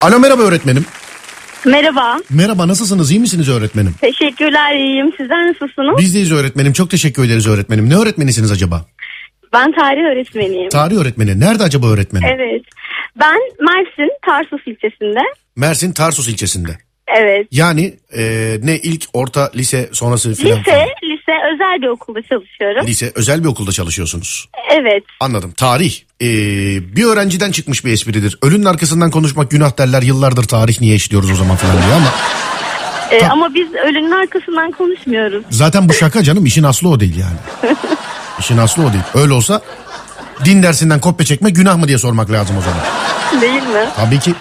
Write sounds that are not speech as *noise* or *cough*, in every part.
Alo merhaba öğretmenim. Merhaba. Merhaba nasılsınız iyi misiniz öğretmenim? Teşekkürler iyiyim. Sizler nasılsınız? Bizdeyiz öğretmenim çok teşekkür ederiz öğretmenim. Ne öğretmenisiniz acaba? Ben tarih öğretmeniyim. Tarih öğretmeni. Nerede acaba öğretmenim? Evet. Ben Mersin Tarsus ilçesinde. Mersin Tarsus ilçesinde. Evet. Yani e, ne ilk orta lise sonrası filan. Lise, lise özel bir okulda çalışıyorum. Lise özel bir okulda çalışıyorsunuz. Evet. Anladım tarih. e, bir öğrenciden çıkmış bir espridir. Ölünün arkasından konuşmak günah derler yıllardır tarih niye işliyoruz o zaman filan diye ama. Ee, Tam- ama biz ölünün arkasından konuşmuyoruz. Zaten bu şaka canım işin aslı o değil yani. İşin aslı o değil. Öyle olsa din dersinden kopya çekme günah mı diye sormak lazım o zaman. Değil mi? Tabii ki.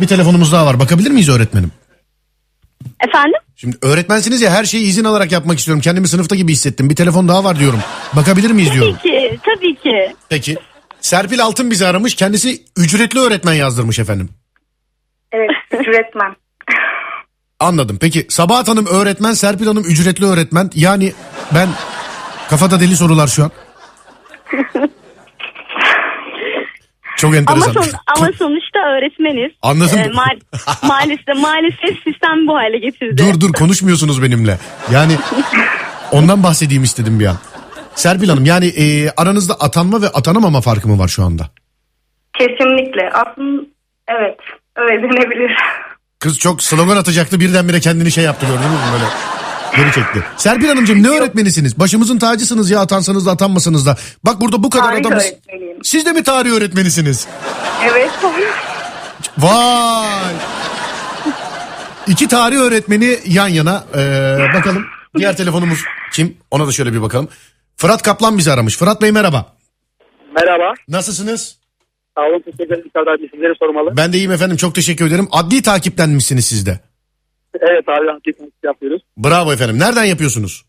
Bir telefonumuz daha var. Bakabilir miyiz öğretmenim? Efendim? Şimdi öğretmensiniz ya her şeyi izin alarak yapmak istiyorum. Kendimi sınıfta gibi hissettim. Bir telefon daha var diyorum. Bakabilir miyiz diyorum. Tabii ki. Tabii ki. Peki. Serpil Altın bizi aramış. Kendisi ücretli öğretmen yazdırmış efendim. Evet, üretmem. Anladım. Peki Sabahat Hanım öğretmen, Serpil Hanım ücretli öğretmen. Yani ben kafada deli sorular *laughs* şu an. Çok Ama, enteresan. son, *laughs* ama sonuçta öğretmeniz. Anladım. *laughs* ma- maalesef, maalesef sistem bu hale getirdi. Dur dur konuşmuyorsunuz benimle. Yani ondan bahsedeyim istedim bir an. Serpil Hanım yani e, aranızda atanma ve atanamama farkı mı var şu anda? Kesinlikle. Aslında evet, öyle denebilir. Kız çok slogan atacaktı birdenbire kendini şey yaptı gördünüz mü böyle geri çekti. Serpil Hanımcığım ne öğretmenisiniz? Başımızın tacısınız ya atansanız da atanmasanız da. Bak burada bu kadar Tarih adamız. öğretmeniyim. Siz de mi tarih öğretmenisiniz? Evet. Vay. İki tarih öğretmeni yan yana. Ee, bakalım diğer telefonumuz kim? Ona da şöyle bir bakalım. Fırat Kaplan bizi aramış. Fırat Bey merhaba. Merhaba. Nasılsınız? Sağ olun. Teşekkür ederim. Serdar abi sizleri sormalı. Ben de iyiyim efendim. Çok teşekkür ederim. Adli takiplenmişsiniz siz de. Evet abi anket anket yapıyoruz. Bravo efendim. Nereden yapıyorsunuz?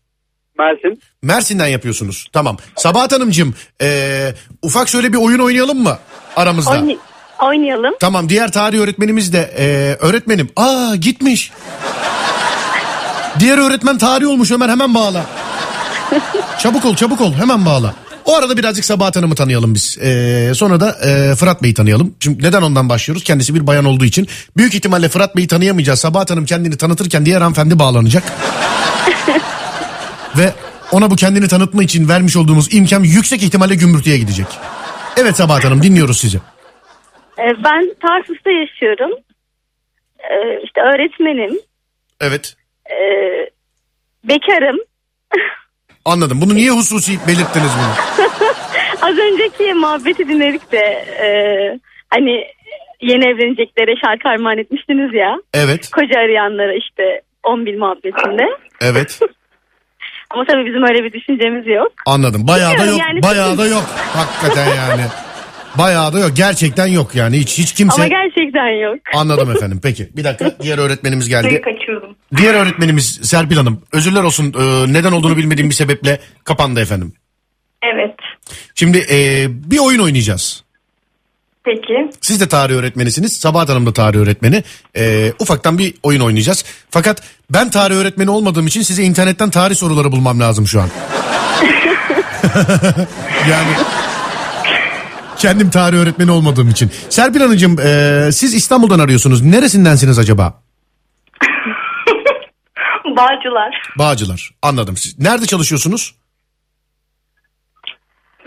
Mersin. Mersin'den yapıyorsunuz. Tamam. Sabahat Hanımcığım ee, ufak şöyle bir oyun oynayalım mı aramızda? Oyn- oynayalım. Tamam diğer tarih öğretmenimiz de ee, öğretmenim. Aa gitmiş. diğer öğretmen tarih olmuş Ömer hemen bağla. çabuk ol çabuk ol hemen bağla. O arada birazcık Sabahat Hanım'ı tanıyalım biz. Ee, sonra da ee, Fırat Bey'i tanıyalım. Şimdi neden ondan başlıyoruz? Kendisi bir bayan olduğu için. Büyük ihtimalle Fırat Bey'i tanıyamayacağız. Sabahat Hanım kendini tanıtırken diğer hanımefendi bağlanacak. Ve ona bu kendini tanıtma için vermiş olduğumuz imkan yüksek ihtimalle gümrütüye gidecek. Evet Sabahat Hanım dinliyoruz sizi. Ee, ben Tarsus'ta yaşıyorum. Ee, işte öğretmenim. Evet. Ee, bekarım. Anladım. Bunu niye hususi belirttiniz bunu? Az önceki muhabbeti dinledik de e, hani yeni evleneceklere şarkı armağan etmiştiniz ya. Evet, Koca arayanlara işte 10 bin muhabbetinde. evet. Ama tabii bizim öyle bir düşüncemiz yok. Anladım. Bayağı da Bilmiyorum yok. yani. Bayağı da yok. Hakikaten yani. Bayağı da yok. Gerçekten yok yani. Hiç hiç Ama kimse gerçekten yok. Anladım efendim. Peki. Bir dakika. Diğer öğretmenimiz Seni geldi. kaçırdım. Diğer öğretmenimiz Serpil Hanım. Özürler olsun. e, neden olduğunu bilmediğim bir sebeple kapandı efendim. Evet. Şimdi e, bir oyun oynayacağız. Peki. Siz de tarih öğretmenisiniz. Sabahat Hanım da tarih öğretmeni. Ee, ufaktan bir oyun oynayacağız. Fakat ben tarih öğretmeni olmadığım için size internetten tarih soruları bulmam lazım şu an. *laughs* yani kendim tarih öğretmeni olmadığım için. Serpil Hanımcığım ee, siz İstanbul'dan arıyorsunuz. Neresindensiniz acaba? Bağcılar. Bağcılar. Anladım. Siz nerede çalışıyorsunuz?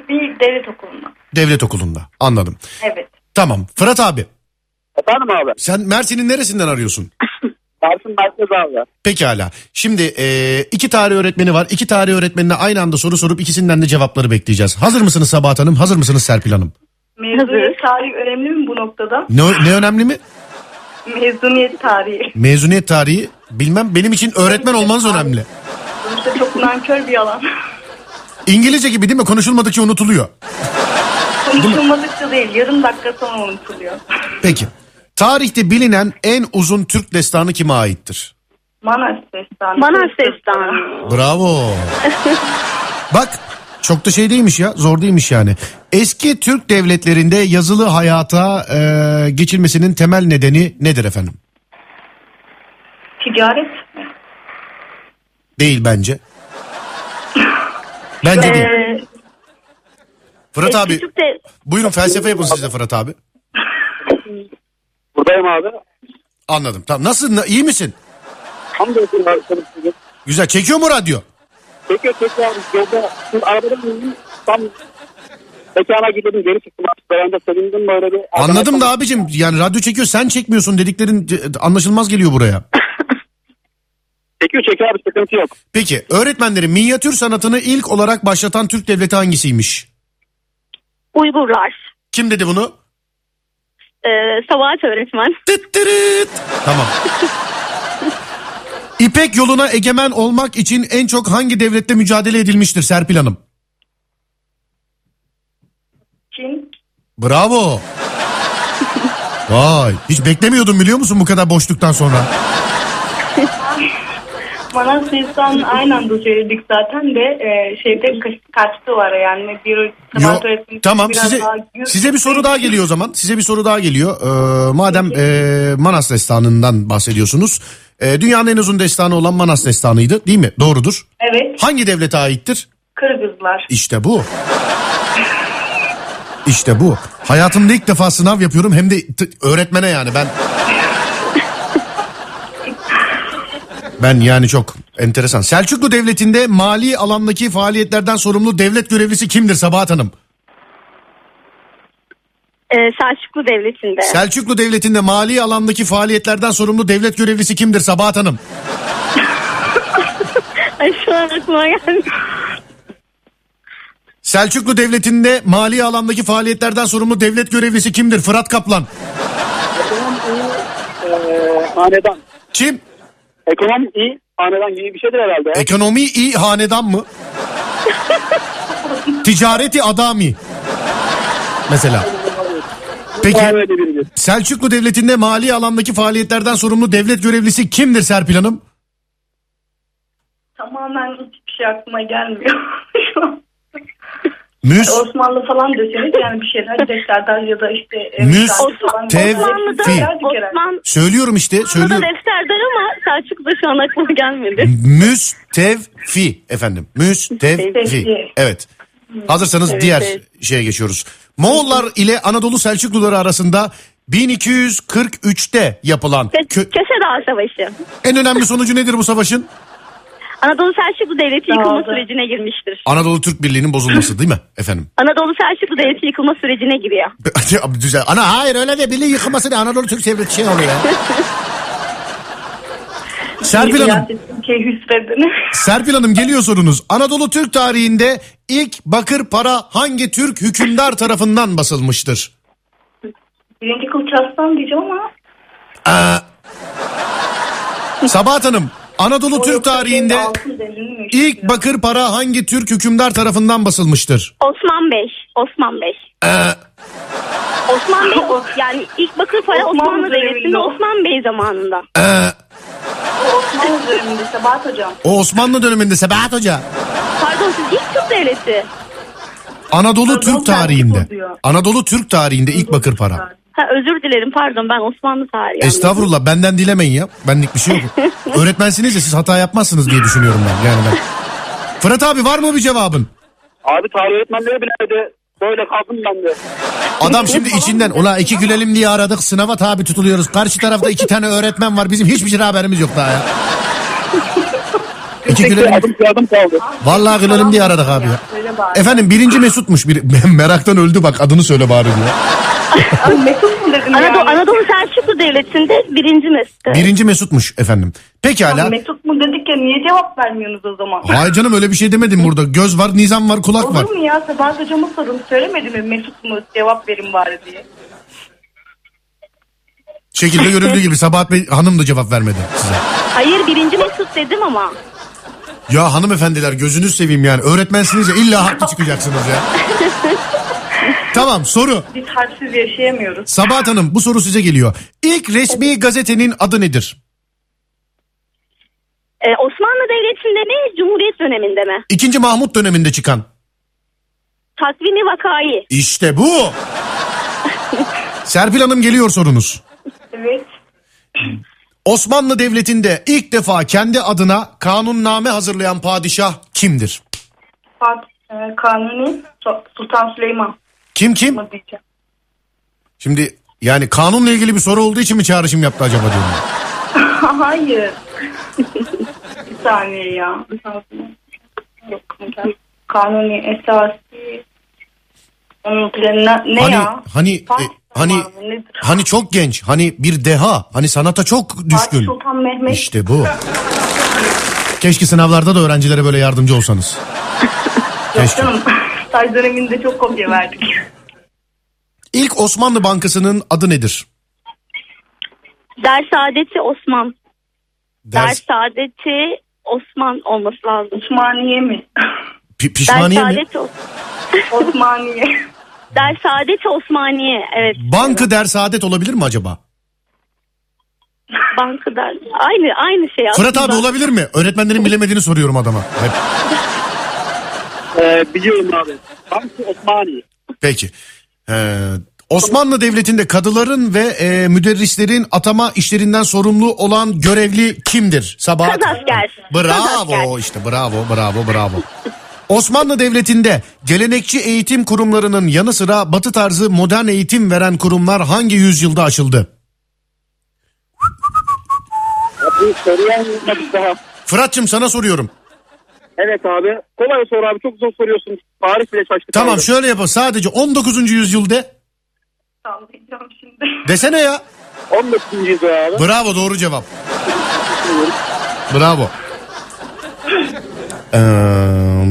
Bir devlet okulunda. Devlet okulunda. Anladım. Evet. Tamam. Fırat abi Efendim abi. sen Mersin'in neresinden arıyorsun? Mersin merkez abi. Pekala. Şimdi e, iki tarih öğretmeni var. İki tarih öğretmenine aynı anda soru sorup ikisinden de cevapları bekleyeceğiz. Hazır mısınız Sabahat Hanım? Hazır mısınız Serpil Hanım? Mezuniyet tarihi önemli mi bu noktada? Ne, ne önemli mi? Mezuniyet tarihi. Mezuniyet tarihi bilmem benim için öğretmen olmanız önemli. Sonuçta çok nankör bir yalan. İngilizce gibi değil mi? Konuşulmadıkça unutuluyor. Konuşulmadıkça değil, yarım dakika sonra unutuluyor. Peki. Tarihte bilinen en uzun Türk destanı kime aittir? Manas Destanı. Manas Destanı. Bravo. Bak çok da şey değilmiş ya zor değilmiş yani. Eski Türk devletlerinde yazılı hayata e, geçilmesinin temel nedeni nedir efendim? Ticaret mi? Değil bence. Bence değil. Ee, Fırat abi e, küçük de- buyurun felsefe yapın siz de Fırat abi. Buradayım abi. Anladım. Tamam. Nasıl? na- iyi misin? Hamdolsun abi çalışıyoruz. Güzel. Çekiyor mu radyo? Peki peki abi yolda şimdi arabadan indim tam mekana gidelim geri çıktım. Ben de sevindim böyle bir. Anladım da abicim yani radyo çekiyor sen çekmiyorsun dediklerin e, anlaşılmaz geliyor buraya. Çekiyor çekiyor abi sıkıntı yok. Peki öğretmenlerin minyatür sanatını ilk olarak başlatan Türk devleti hangisiymiş? Uygurlar. Kim dedi bunu? E, Sabahat öğretmen. Tıt tırıt. Tamam. İpek yoluna egemen olmak için en çok hangi devlette mücadele edilmiştir Serpil Hanım? Çin. Bravo. Vay hiç beklemiyordum biliyor musun bu kadar boşluktan sonra. Bana Sıyıstan aynı anda söyledik zaten de e, şeyde kaç- kaçtı var yani. Bir Yo, sabah öğretmeni tamam biraz size daha gür- size bir soru daha geliyor o zaman. Size bir soru daha geliyor. Ee, madem e, Manas destanından bahsediyorsunuz. e, dünyanın en uzun destanı olan Manas destanıydı değil mi? Doğrudur. Evet. Hangi devlete aittir? Kırgızlar. İşte bu. İşte bu. Hayatımda ilk defa sınav yapıyorum hem de t- öğretmene yani ben. Ben yani çok enteresan. Selçuklu Devleti'nde mali alandaki faaliyetlerden sorumlu devlet görevlisi kimdir Sabahat Hanım? E, Selçuklu Devleti'nde. Selçuklu Devleti'nde mali alandaki faaliyetlerden sorumlu devlet görevlisi kimdir Sabahat Hanım? Ay şu an aklıma geldi. Selçuklu Devleti'nde mali alandaki faaliyetlerden sorumlu devlet görevlisi kimdir Fırat Kaplan? Ekonomi iyi eee, Ee, hanedan. Kim? Ekonomi iyi hanedan gibi bir şeydir herhalde. ya. E, Ekonomi iyi hanedan *laughs* mı? Ticareti adami. Mesela. Peki Var öyle biridir. Selçuklu Devleti'nde mali alandaki faaliyetlerden sorumlu devlet görevlisi kimdir Serpil Hanım? Tamamen hiçbir şey aklıma gelmiyor. *laughs* Şu an. Müs Osmanlı falan deseniz yani bir şeyler defterden ya da işte e, Müs- müsaade falan- Tev- Osmanlı'da, Fil. Osman, söylüyorum işte Osmanlı'da söylüyorum. defterde ama Selçuklu'da şu an aklıma gelmedi. Müstevfi efendim. Müstevfi. Müstevfi. Evet. Hazırsanız Evet, diğer evet. şeye geçiyoruz. Moğollar ile Anadolu Selçukluları arasında 1243'te yapılan Ke- kö- Köse Dağı Savaşı. en önemli sonucu nedir bu savaşın? Anadolu Selçuklu Devleti yıkılma Dağıldı. sürecine girmiştir. Anadolu Türk Birliği'nin bozulması değil mi efendim? *laughs* Anadolu Selçuklu Devleti yıkılma sürecine giriyor. Düzel. Ana hayır öyle de birliği yıkılması ne Anadolu Türk Devleti şey oluyor ya. Serpil Hanım, Siyasetin şey keyhüsredini. Serpil Hanım geliyor sorunuz. Anadolu Türk tarihinde ilk bakır para hangi Türk hükümdar tarafından basılmıştır? *laughs* Birinci Kılças'tan diyeceğim ama Sabahat Hanım, Anadolu o Türk yoksa tarihinde benim altın devrim mi? ilk bakır para hangi Türk hükümdar tarafından basılmıştır? Osman Bey. Osman Bey. Osman Bey yani ilk bakır para Osmanlı Osmanlı Devleti'nde döneminde. Osman Bey zamanında. O Osmanlı döneminde Sebahat Hocam. O Osmanlı döneminde Sabahat Hoca. Pardon siz ilk Türk Devleti. Anadolu Anadolu Türk Selçuklu tarihinde. oluyor. Anadolu Türk tarihinde ilk bakır para. Ha, özür dilerim pardon ben Osmanlı tarihi. anladım. Estağfurullah benden dilemeyin ya. Benlik bir şey yok. *laughs* Öğretmensiniz ya siz hata yapmazsınız diye düşünüyorum ben. Yani ben. Fırat abi var mı bir cevabın? Abi tarih öğretmenleri bile de böyle kaldım ben de. Adam şimdi içinden ula iki gülelim diye aradık sınava tabi tutuluyoruz. Karşı tarafta iki tane öğretmen var bizim hiçbir şey haberimiz yok daha ya. İki gülelim. Adım adım kaldı. Vallahi gülelim diye aradık abi ya. Efendim birinci Mesut'muş. Bir, *laughs* meraktan öldü bak adını söyle bari diyor. Efendim Mesut mu dedim Anadolu, yani? Anadolu Selçuklu Devleti'nde birinci mesle. Birinci Mesut'muş efendim. Pekala. Mesut mu dedik ya niye cevap vermiyorsunuz o zaman? Hayır canım öyle bir şey demedim burada. Göz var, nizam var, kulak var. Olur mu ya Sebahat Hocam'a sorun söylemedi mi Mesut mu cevap verin bari diye. Şekilde görüldüğü gibi Sabahat Bey hanım da cevap vermedi size. Hayır birinci mesut dedim ama. Ya hanımefendiler gözünüz seveyim yani. Öğretmensiniz ya illa haklı çıkacaksınız ya. tamam soru. Biz harfsiz yaşayamıyoruz. Sabahat Hanım bu soru size geliyor. İlk resmi gazetenin adı nedir? Ee, Osmanlı Devleti'nde mi Cumhuriyet döneminde mi? İkinci Mahmut döneminde çıkan. Takvimi vakayı. İşte bu. Serpil Hanım geliyor sorunuz. Evet. Osmanlı Devleti'nde ilk defa kendi adına kanunname hazırlayan padişah kimdir? Fat, e, Kanuni Su- Sultan Süleyman Kim kim? mı diyeceğim. Şimdi Yani kanunla ilgili bir soru olduğu için mi çağrışım yaptı acaba diyorum. *laughs* Hayır. *laughs* bir saniye ya. Bir saniye. Yok, kanuni esası onun planına ne hani ya? hani e, Fatih hani Sultan Mehmet nedir? hani çok genç, hani bir deha, hani sanata çok Fatih düşkün. Sultan Mehmet İşte bu. Keşke sınavlarda da öğrencilere böyle yardımcı *laughs* olsanız. yok Keşke. canım. *laughs* Staj döneminde çok kopya verdik. İlk Osmanlı Bankası'nın adı nedir? Ders adeti Osman. Ders, Ders, adeti Osman olması lazım. *laughs* Osmaniye mi? pi- Ders pişmaniye mi? adeti, Os- Osmaniye. ders adeti Osmaniye. Evet. Bankı ders adet olabilir mi acaba? Banka dersi. Aynı aynı şey aslında. Fırat abi olabilir mi? Öğretmenlerin bilemediğini soruyorum adama. Hep. Ee, biliyorum abi. Hamsi Osmani. Peki. Ee, Osmanlı Devleti'nde kadıların ve e, müderrislerin atama işlerinden sorumlu olan görevli kimdir? Sabahat. Kazasker. Bravo Kazasker. işte bravo bravo bravo. Osmanlı Devleti'nde gelenekçi eğitim kurumlarının yanı sıra batı tarzı modern eğitim veren kurumlar hangi yüzyılda açıldı? Ya Bu soruyu anlatmadık daha. Fırat'cığım sana soruyorum. Evet abi. Kolay soru abi. Çok zor soruyorsun. Tarih bile şaştık Tamam abi. şöyle yapalım sadece 19. yüzyılda Sallayacağım şimdi. desene ya. 19. yüzyıl abi. Bravo doğru cevap. Bravo. Ee,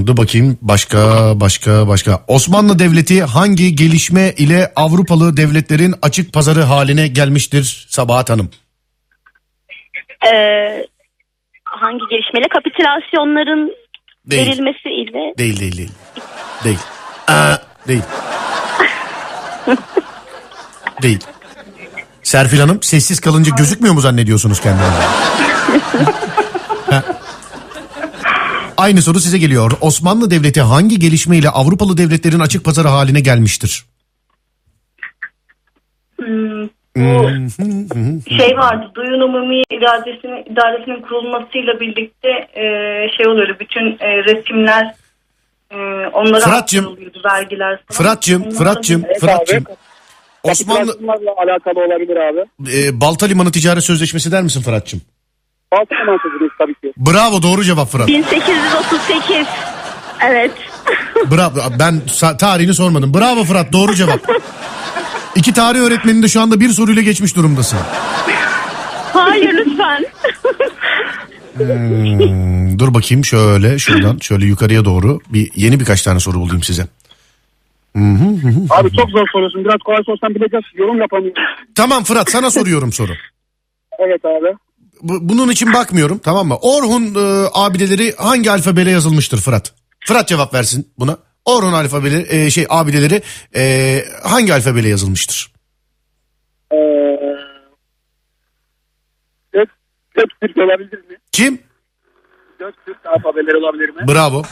dur bakayım başka başka başka. Osmanlı Devleti hangi gelişme ile Avrupalı devletlerin açık pazarı haline gelmiştir Sabahat Hanım? Ee, hangi gelişmeyle kapitülasyonların Değil. verilmesi ile Değil değil değil. Değil. Aa, değil. değil. Serpil Hanım sessiz kalınca gözükmüyor mu zannediyorsunuz kendinizi? Ha? Aynı soru size geliyor. Osmanlı Devleti hangi gelişmeyle Avrupalı devletlerin açık pazarı haline gelmiştir? Hmm, bu şey vardı. Duyun umumi iradesinin, idaresinin kurulmasıyla birlikte e, şey oluyordu. Bütün e, resimler e, onlara Fırat'cığım. aktarılıyordu, vergiler falan. Fırat'cığım, Ondan Fırat'cığım, sonra- Fırat'cığım. Osmanlı Osmanlı... alakalı olabilir abi. e, Balta Limanı Ticaret Sözleşmesi der misin Fırat'cığım? Fatih Osmani'yiz tabii ki. Bravo doğru cevap Fırat. 1838. Evet. *laughs* Bravo. Ben sa- tarihini sormadım. Bravo Fırat. Doğru cevap. İki tarih öğretmeni de şu anda bir soruyla geçmiş durumdasın. Hayır lütfen. Hmm, dur bakayım şöyle şuradan şöyle yukarıya doğru bir yeni birkaç tane soru bulayım size. Abi çok zor soruyorsun. Biraz kolay sorsan bileceğiz. Yorum yapamıyorum. Tamam Fırat sana soruyorum soru. Evet abi. Bu- Bunun için bakmıyorum tamam mı? Orhun e, abideleri hangi alfabeyle yazılmıştır Fırat? Fırat cevap versin buna. Orhun alfabeleri e, şey abideleri e, hangi alfabeyle yazılmıştır? Ee, Gök, Gök Türk olabilir mi? Kim? Gök Türk alfabeleri olabilir mi? Bravo.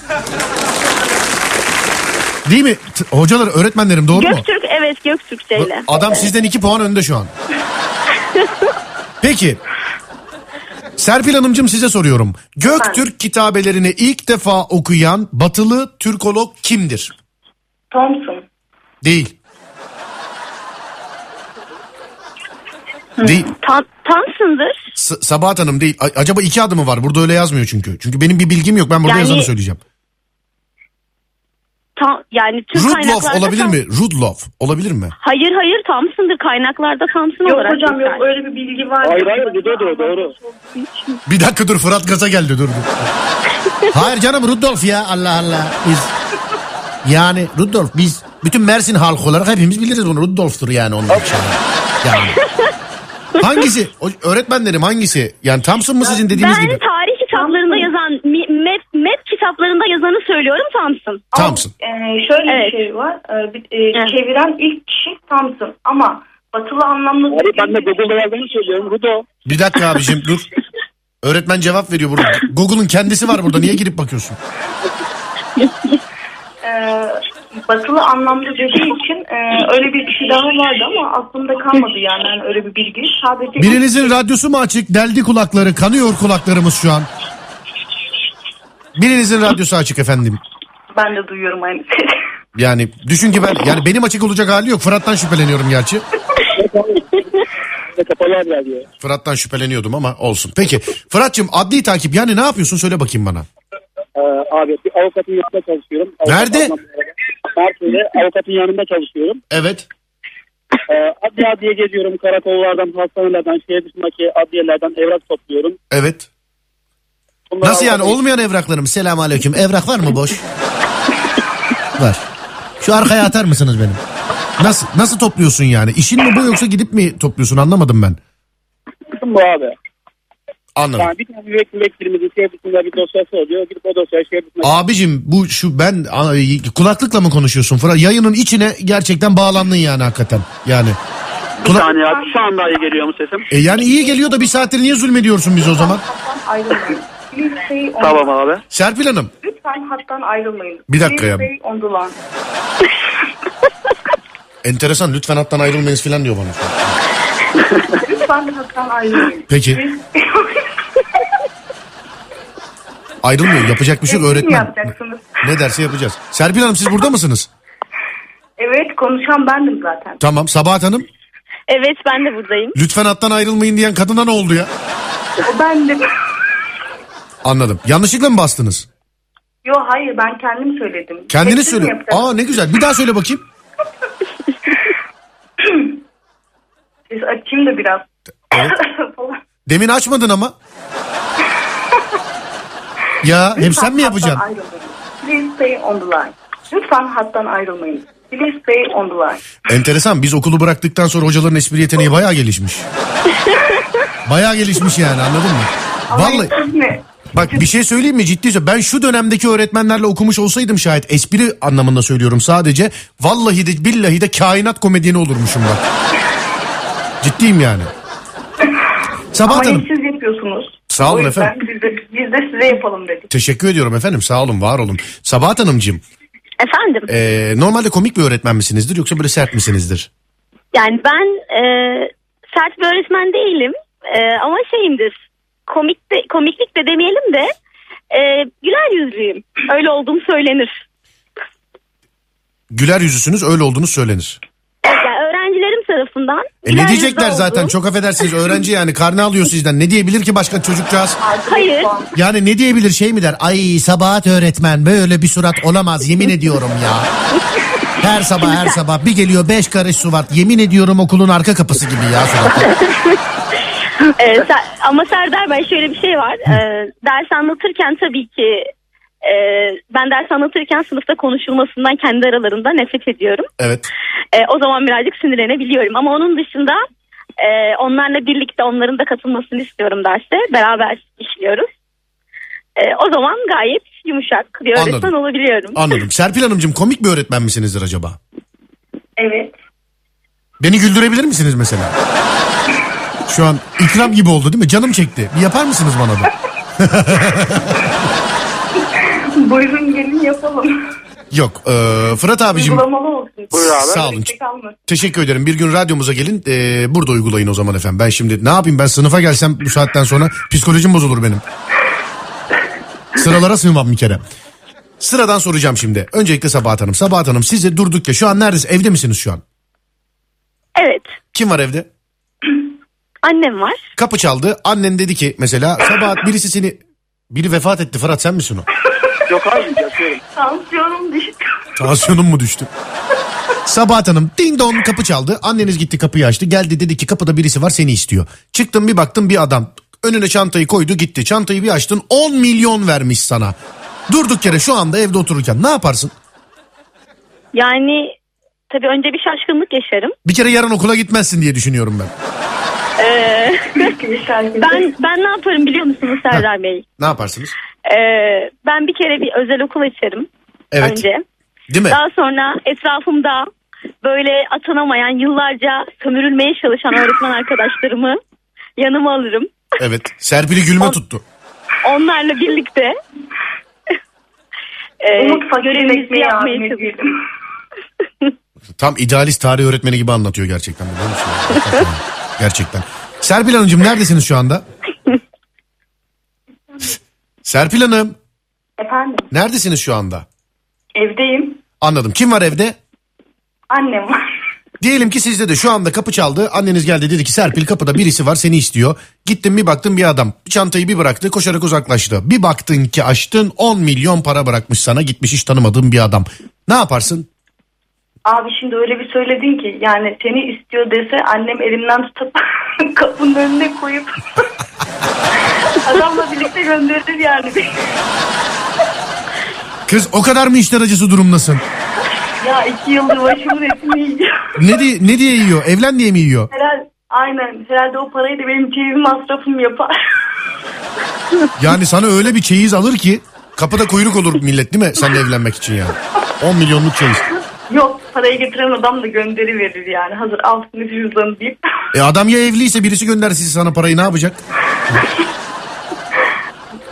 Değil mi? T- hocalar öğretmenlerim doğru mu? Göktürk evet Göktürkçeyle. Adam sizden iki puan önde şu an. Peki. Serpil Hanımcığım size soruyorum. Göktürk kitabelerini ilk defa okuyan batılı Türkolog kimdir? Thompson. Değil. Değil. Tan Tansındır. S- Sabahat Hanım değil. A- acaba iki adı mı var? Burada öyle yazmıyor çünkü. Çünkü benim bir bilgim yok. Ben burada Yani- yazanı söyleyeceğim. Tan- yani tüm Rudloff kaynaklarda olabilir Tan- mi? Rudloff olabilir mi? Hayır hayır Thompson'dır. Kaynaklarda Thompson Yok olarak. hocam yok geçer. öyle bir bilgi var. e, Hayır, hayır, bu da doğru, doğru. Bir dakika dur Fırat gaza geldi dur. dur. Hayır canım Rudolf ya Allah Allah. Biz yani Rudolf biz bütün Mersin halkı olarak hepimiz biliriz bunu. Rudolf'tur yani onun için. Yani. Hangisi? O- öğretmenlerim hangisi? Yani Thompson mı sizin dediğiniz Ben hani gibi? tarih kitaplarında Thompson. yazan mi- map, map kitaplarında yazanı söylüyorum Thompson. Thompson. Ee, şöyle Evet. bir şey var. Ee, bir- e, Evet. Çeviren ilk kişi Thompson ama batılı anlamlı. Abi ben de Google'da yazdığını söylüyorum. Rudo. Bir dakika abicim dur. Öğretmen cevap veriyor burada. Google'ın kendisi var burada. Niye girip bakıyorsun? e, Ee, batılı anlamlı dediği için e, öyle bir kişi daha vardı ama aklımda kalmadı yani, hani yani öyle bir bilgi. Sadece Birinizin radyosu mu açık? Deldi kulakları. Kanıyor kulaklarımız şu an. Birinizin radyosu açık efendim. ben de duyuyorum aynı şeyi. Yani düşün ki ben yani benim açık olacak hali yok. Fırat'tan şüpheleniyorum gerçi. Ve kapalı haber diyor. Fırat'tan şüpheleniyordum ama olsun. Peki Fırat'cığım adli takip yani ne yapıyorsun söyle bakayım bana. Ee, abi bir avukatın yanında çalışıyorum. Avukat Nerede? anlamında- Mersin'de avukatın yanında çalışıyorum. Evet. Ee, adliye adliye geziyorum. Karakollardan, hastanelerden, şehir dışındaki adliyelerden evrak topluyorum. Evet. Bunları Nasıl yani avukatın- olmayan evraklarım? Selam aleyküm. Evrak var mı boş? var. Şu arkaya atar mısınız benim? Nasıl nasıl topluyorsun yani? İşin mi bu yoksa gidip mi topluyorsun anlamadım ben. bu abi. Anladım. Yani bir tane müvekkilimizin şehir dışında bir dosyası oluyor. Gidip o dosyayı şehir dışında Abicim bu şu ben a- kulaklıkla mı konuşuyorsun Fırat? Yayının içine gerçekten bağlandın yani hakikaten. Yani. Bir Kula- saniye abi şu anda iyi geliyor mu sesim? E yani iyi geliyor da bir saattir niye zulmediyorsun biz o zaman? Hattan ayrılmayın. Please stay on. Tamam abi. Serpil Hanım. Lütfen hattan ayrılmayın. şey Bir dakika Please ya. stay on the line. Enteresan lütfen hattan ayrılmayınız falan diyor bana. Lütfen hattan *laughs* ayrılmayın. Peki ayrılmıyor yapacak bir şey yok Öğretmen. öğretmen. yapacaksınız. Ne derse yapacağız. Serpil Hanım siz burada mısınız? Evet konuşan bendim zaten. Tamam Sabahat Hanım Evet ben de buradayım. lütfen hattan ayrılmayın diyen kadına ne oldu ya? O *laughs* bendim. Anladım. Yanlışlıkla mı bastınız? Yo hayır ben kendim söyledim. Kendini Tekstil mi söyle. yapacağım? Aa ne güzel. Bir daha söyle bakayım. Siz açayım da biraz. Evet. *laughs* Falan. Demin açmadın ama. ya hep sen mi yapacaksın? Hattan ayrılmayın. Please stay on the line. Lütfen hattan ayrılmayın. Please stay on the line. Enteresan biz okulu bıraktıktan sonra hocaların espri yeteneği bayağı *laughs* gelişmiş. bayağı gelişmiş yani anladın mı? Vallahi Ama siz ne? bak bir şey söyleyeyim mi ciddi söylüyorum. Ben şu dönemdeki öğretmenlerle okumuş olsaydım şayet espri anlamında söylüyorum sadece. Vallahi de billahi de kainat komedyeni olurmuşum bak. Ciddiyim yani. Ama Sabahat Hanım. hep siz yapıyorsunuz. Sağ olun O yüzden efendim. Biz de, biz de size yapalım dedik. Teşekkür ediyorum efendim sağ olun var olun. Sabahat Hanımcığım Efendim e, normalde komik bir öğretmen misinizdir yoksa böyle sert misinizdir? yani ben e, sert bir öğretmen değilim E, ama şeyimdir komik de, komiklik de demeyelim de e, güler yüzlüyüm. Öyle olduğum *laughs* söylenir. Güler yüzüsünüz öyle olduğunuz söylenir. Evet, yani öğrencilerim tarafından. E güler ne yüzlü diyecekler zaten olduğum- çok affedersiniz öğrenci yani karne alıyor sizden ne diyebilir ki başka çocukcağız? Hayır. Yani ne diyebilir şey mi der? Ay Sabahat öğretmen böyle bir surat olamaz yemin ediyorum ya. Her sabah her sabah bir geliyor beş karış surat yemin ediyorum okulun arka kapısı gibi ya surat. Ee, Ser- ama Serdar Bey şöyle bir şey var. Ee, ders anlatırken tabii ki e, ben ders anlatırken sınıfta konuşulmasından kendi aralarında nefret ediyorum. Evet E, o zaman birazcık sinirlenebiliyorum. Ama onun dışında e, onlarla birlikte onların da katılmasını istiyorum derse. Beraber işliyoruz. E, o zaman gayet yumuşak bir öğretmen Anladım. olabiliyorum. anladım. Serpil Hanımcığım komik bir öğretmen misinizdir acaba? Evet. Beni güldürebilir misiniz mesela? Şu an ikram gibi oldu değil mi? Canım çekti. Bir yapar mısınız bana da? Buyurun gelin yapalım. Yok. eee, Fırat abicim Uygulamalı olsun. Buyur abi. Sağ olun. Tek kalmasın. teşekkür ederim. Bir gün radyomuza gelin. eee, burada uygulayın o zaman efendim. Ben şimdi ne yapayım ben sınıfa gelsem bu saatten sonra psikolojim bozulur benim. Sıralara sığmam bir kere. Sıradan soracağım şimdi. Öncelikle Sabahat Hanım. Sabahat Hanım siz de durduk ya şu an neredesiniz? Evde misiniz şu an? Evet. Kim var evde? Annem var. Kapı çaldı. Annen dedi ki mesela Sabahat birisi seni... Biri vefat etti Fırat sen misin o? Yok abi yapıyorum. Tansiyonum düştü. Tansiyonum mu düştü? Sabahat Hanım ding dong kapı çaldı. Anneniz gitti kapıyı açtı. Geldi dedi ki kapıda birisi var seni istiyor. Çıktım bir baktım bir adam. Önüne çantayı koydu gitti. Çantayı bir açtın 10 milyon vermiş sana. Durduk yere şu anda evde otururken ne yaparsın? Yani tabii önce bir şaşkınlık yaşarım. Bir kere yarın okula gitmezsin diye düşünüyorum ben. Ben ben ne yaparım biliyor musunuz Serdar Bey? Ne yaparsınız? Ee, ben bir kere bir özel okul açarım Evet. önce. Değil mi? Daha sonra etrafımda böyle atanamayan yıllarca sömürülmeye çalışan öğretmen arkadaşlarımı yanıma alırım. Evet. Serpil'i gülme tuttu. Onlarla birlikte *laughs* ee, Umut fakirin görevimizi ekmeği yapmaya abime çalışırım. girdim. Tam idealist tarih öğretmeni gibi anlatıyor gerçekten. biliyor musun? *laughs* gerçekten. Serpil Hanımcığım neredesiniz şu anda? Serpil Hanım Efendim neredesiniz şu anda? evdeyim. Anladım. Kim var evde? Annem var. Diyelim ki sizde de şu anda kapı çaldı. Anneniz geldi dedi ki Serpil kapıda birisi var seni istiyor. Gittin bir baktın bir adam. Çantayı bir bıraktı koşarak uzaklaştı. Bir baktın ki açtın 10 milyon para bırakmış sana gitmiş hiç tanımadığın bir adam. Ne yaparsın? Abi şimdi öyle bir söyledin ki yani seni istiyor dese annem elimden tutup *laughs* kapının önüne koyup *laughs* adamla birlikte gönderir yani. *laughs* Kız o kadar mı işler acısı durumdasın? ya iki yıldır başımın etini yiyeceğim. Ne, diye, ne diye yiyor? Evlen diye mi yiyor? Herhal, aynen herhalde o parayı da benim keyfim masrafım yapar. *laughs* Yani sana öyle bir çeyiz alır ki kapıda kuyruk olur millet değil mi? Seninle evlenmek için yani. 10 milyonluk çeyiz. Yok parayı getiren adam da gönderiverir yani hazır altını cüzdanı deyip. *laughs* E adam ya evliyse birisi göndersin sana parayı ne yapacak?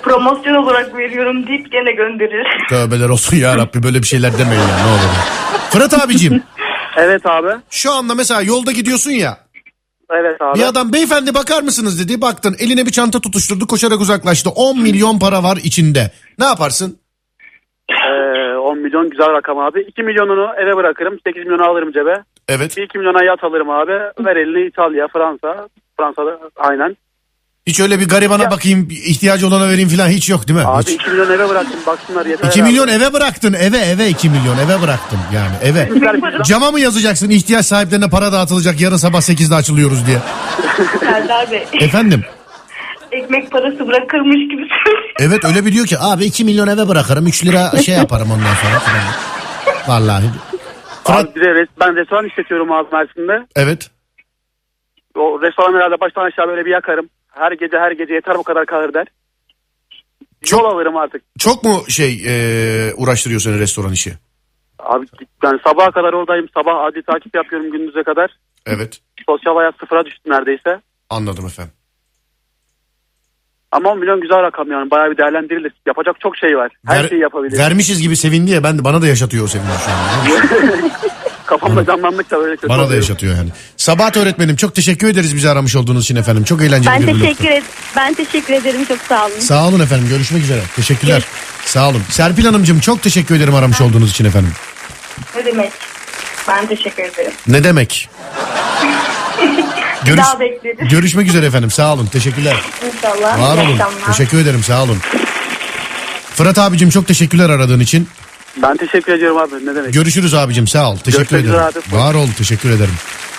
promosyon olarak veriyorum deyip gene gönderir. *laughs* Tövbeler olsun ya Rabbi böyle bir şeyler demeyin ya ne olur. Fırat abicim Evet abi. şu anda mesela yolda gidiyorsun ya. Evet abi. Bir adam beyefendi bakar mısınız dedi. Baktın eline bir çanta tutuşturdu koşarak uzaklaştı. 10 milyon para var içinde. Ne yaparsın? Ee, 10 milyon güzel rakam abi. 2 milyonunu eve bırakırım. 8 milyonu alırım cebe. Evet. Bir 2 milyona yat alırım abi. Ver elini İtalya, Fransa. Fransa'da aynen. Hiç öyle bir garibana bakayım ihtiyacı olana vereyim falan hiç yok değil mi? Abi Hiç. 2 milyon eve bıraktım. Baksınlar yeter. 2 milyon eve bıraktın eve eve 2 milyon eve bıraktın yani eve. Cama mı yazacaksın ihtiyaç sahiplerine para dağıtılacak yarın sabah 8'de açılıyoruz diye. Serdar Bey Efendim ekmek parası bırakırmış gibi söylüyor. evet öyle bir diyor ki abi 2 milyon eve bırakırım 3 lira şey yaparım ondan sonra. *laughs* falan. Vallahi. Fırat Abi bir de res- ben restoran işletiyorum abi Mersin'de. evet. O restoran herhalde baştan aşağı böyle bir yakarım. Her gece her gece yeter bu kadar kalır der. Yol alırım artık. Çok mu şey e, uğraştırıyor seni restoran işi? Abi ben sabaha kadar oradayım. Sabah adli takip yapıyorum gündüze kadar. Evet Sosyal hayat sıfıra düştü neredeyse. anladım efendim. Ama 10 milyon güzel rakam yani. Bayağı bir değerlendirilir. Yapacak çok şey var. Her Ver- şeyi yapabilir. Vermişiz gibi sevindi ya ben de bana da yaşatıyor o sevinci şu an. *laughs* Kafamda canlandıkça böyle kötü Bana da oluyor. yaşatıyor yani. Sabahat öğretmenim çok teşekkür ederiz bizi aramış olduğunuz için efendim. Çok eğlenceli Ben bir bölümdü. teşekkür ederim. Ben teşekkür ederim. Çok sağ olun. Sağ olun efendim görüşmek üzere. Teşekkürler. Sağ olun. Serpil Hanımcığım çok teşekkür ederim aramış olduğunuz için efendim. Ne demek? Ben teşekkür ederim. Ne demek? Görüş- Daha bekleriz. görüşmek üzere efendim. Sağ olun. Teşekkürler. İnşallah. Var iyi olun. akşamlar. Teşekkür ederim. Sağ olun. Fırat abicim çok teşekkürler aradığın için. Ben teşekkür ediyorum abi. Ne demek? Görüşürüz abicim sağ ol. Teşekkür Görüşmek ederim. üzere abi. Var ol teşekkür ederim.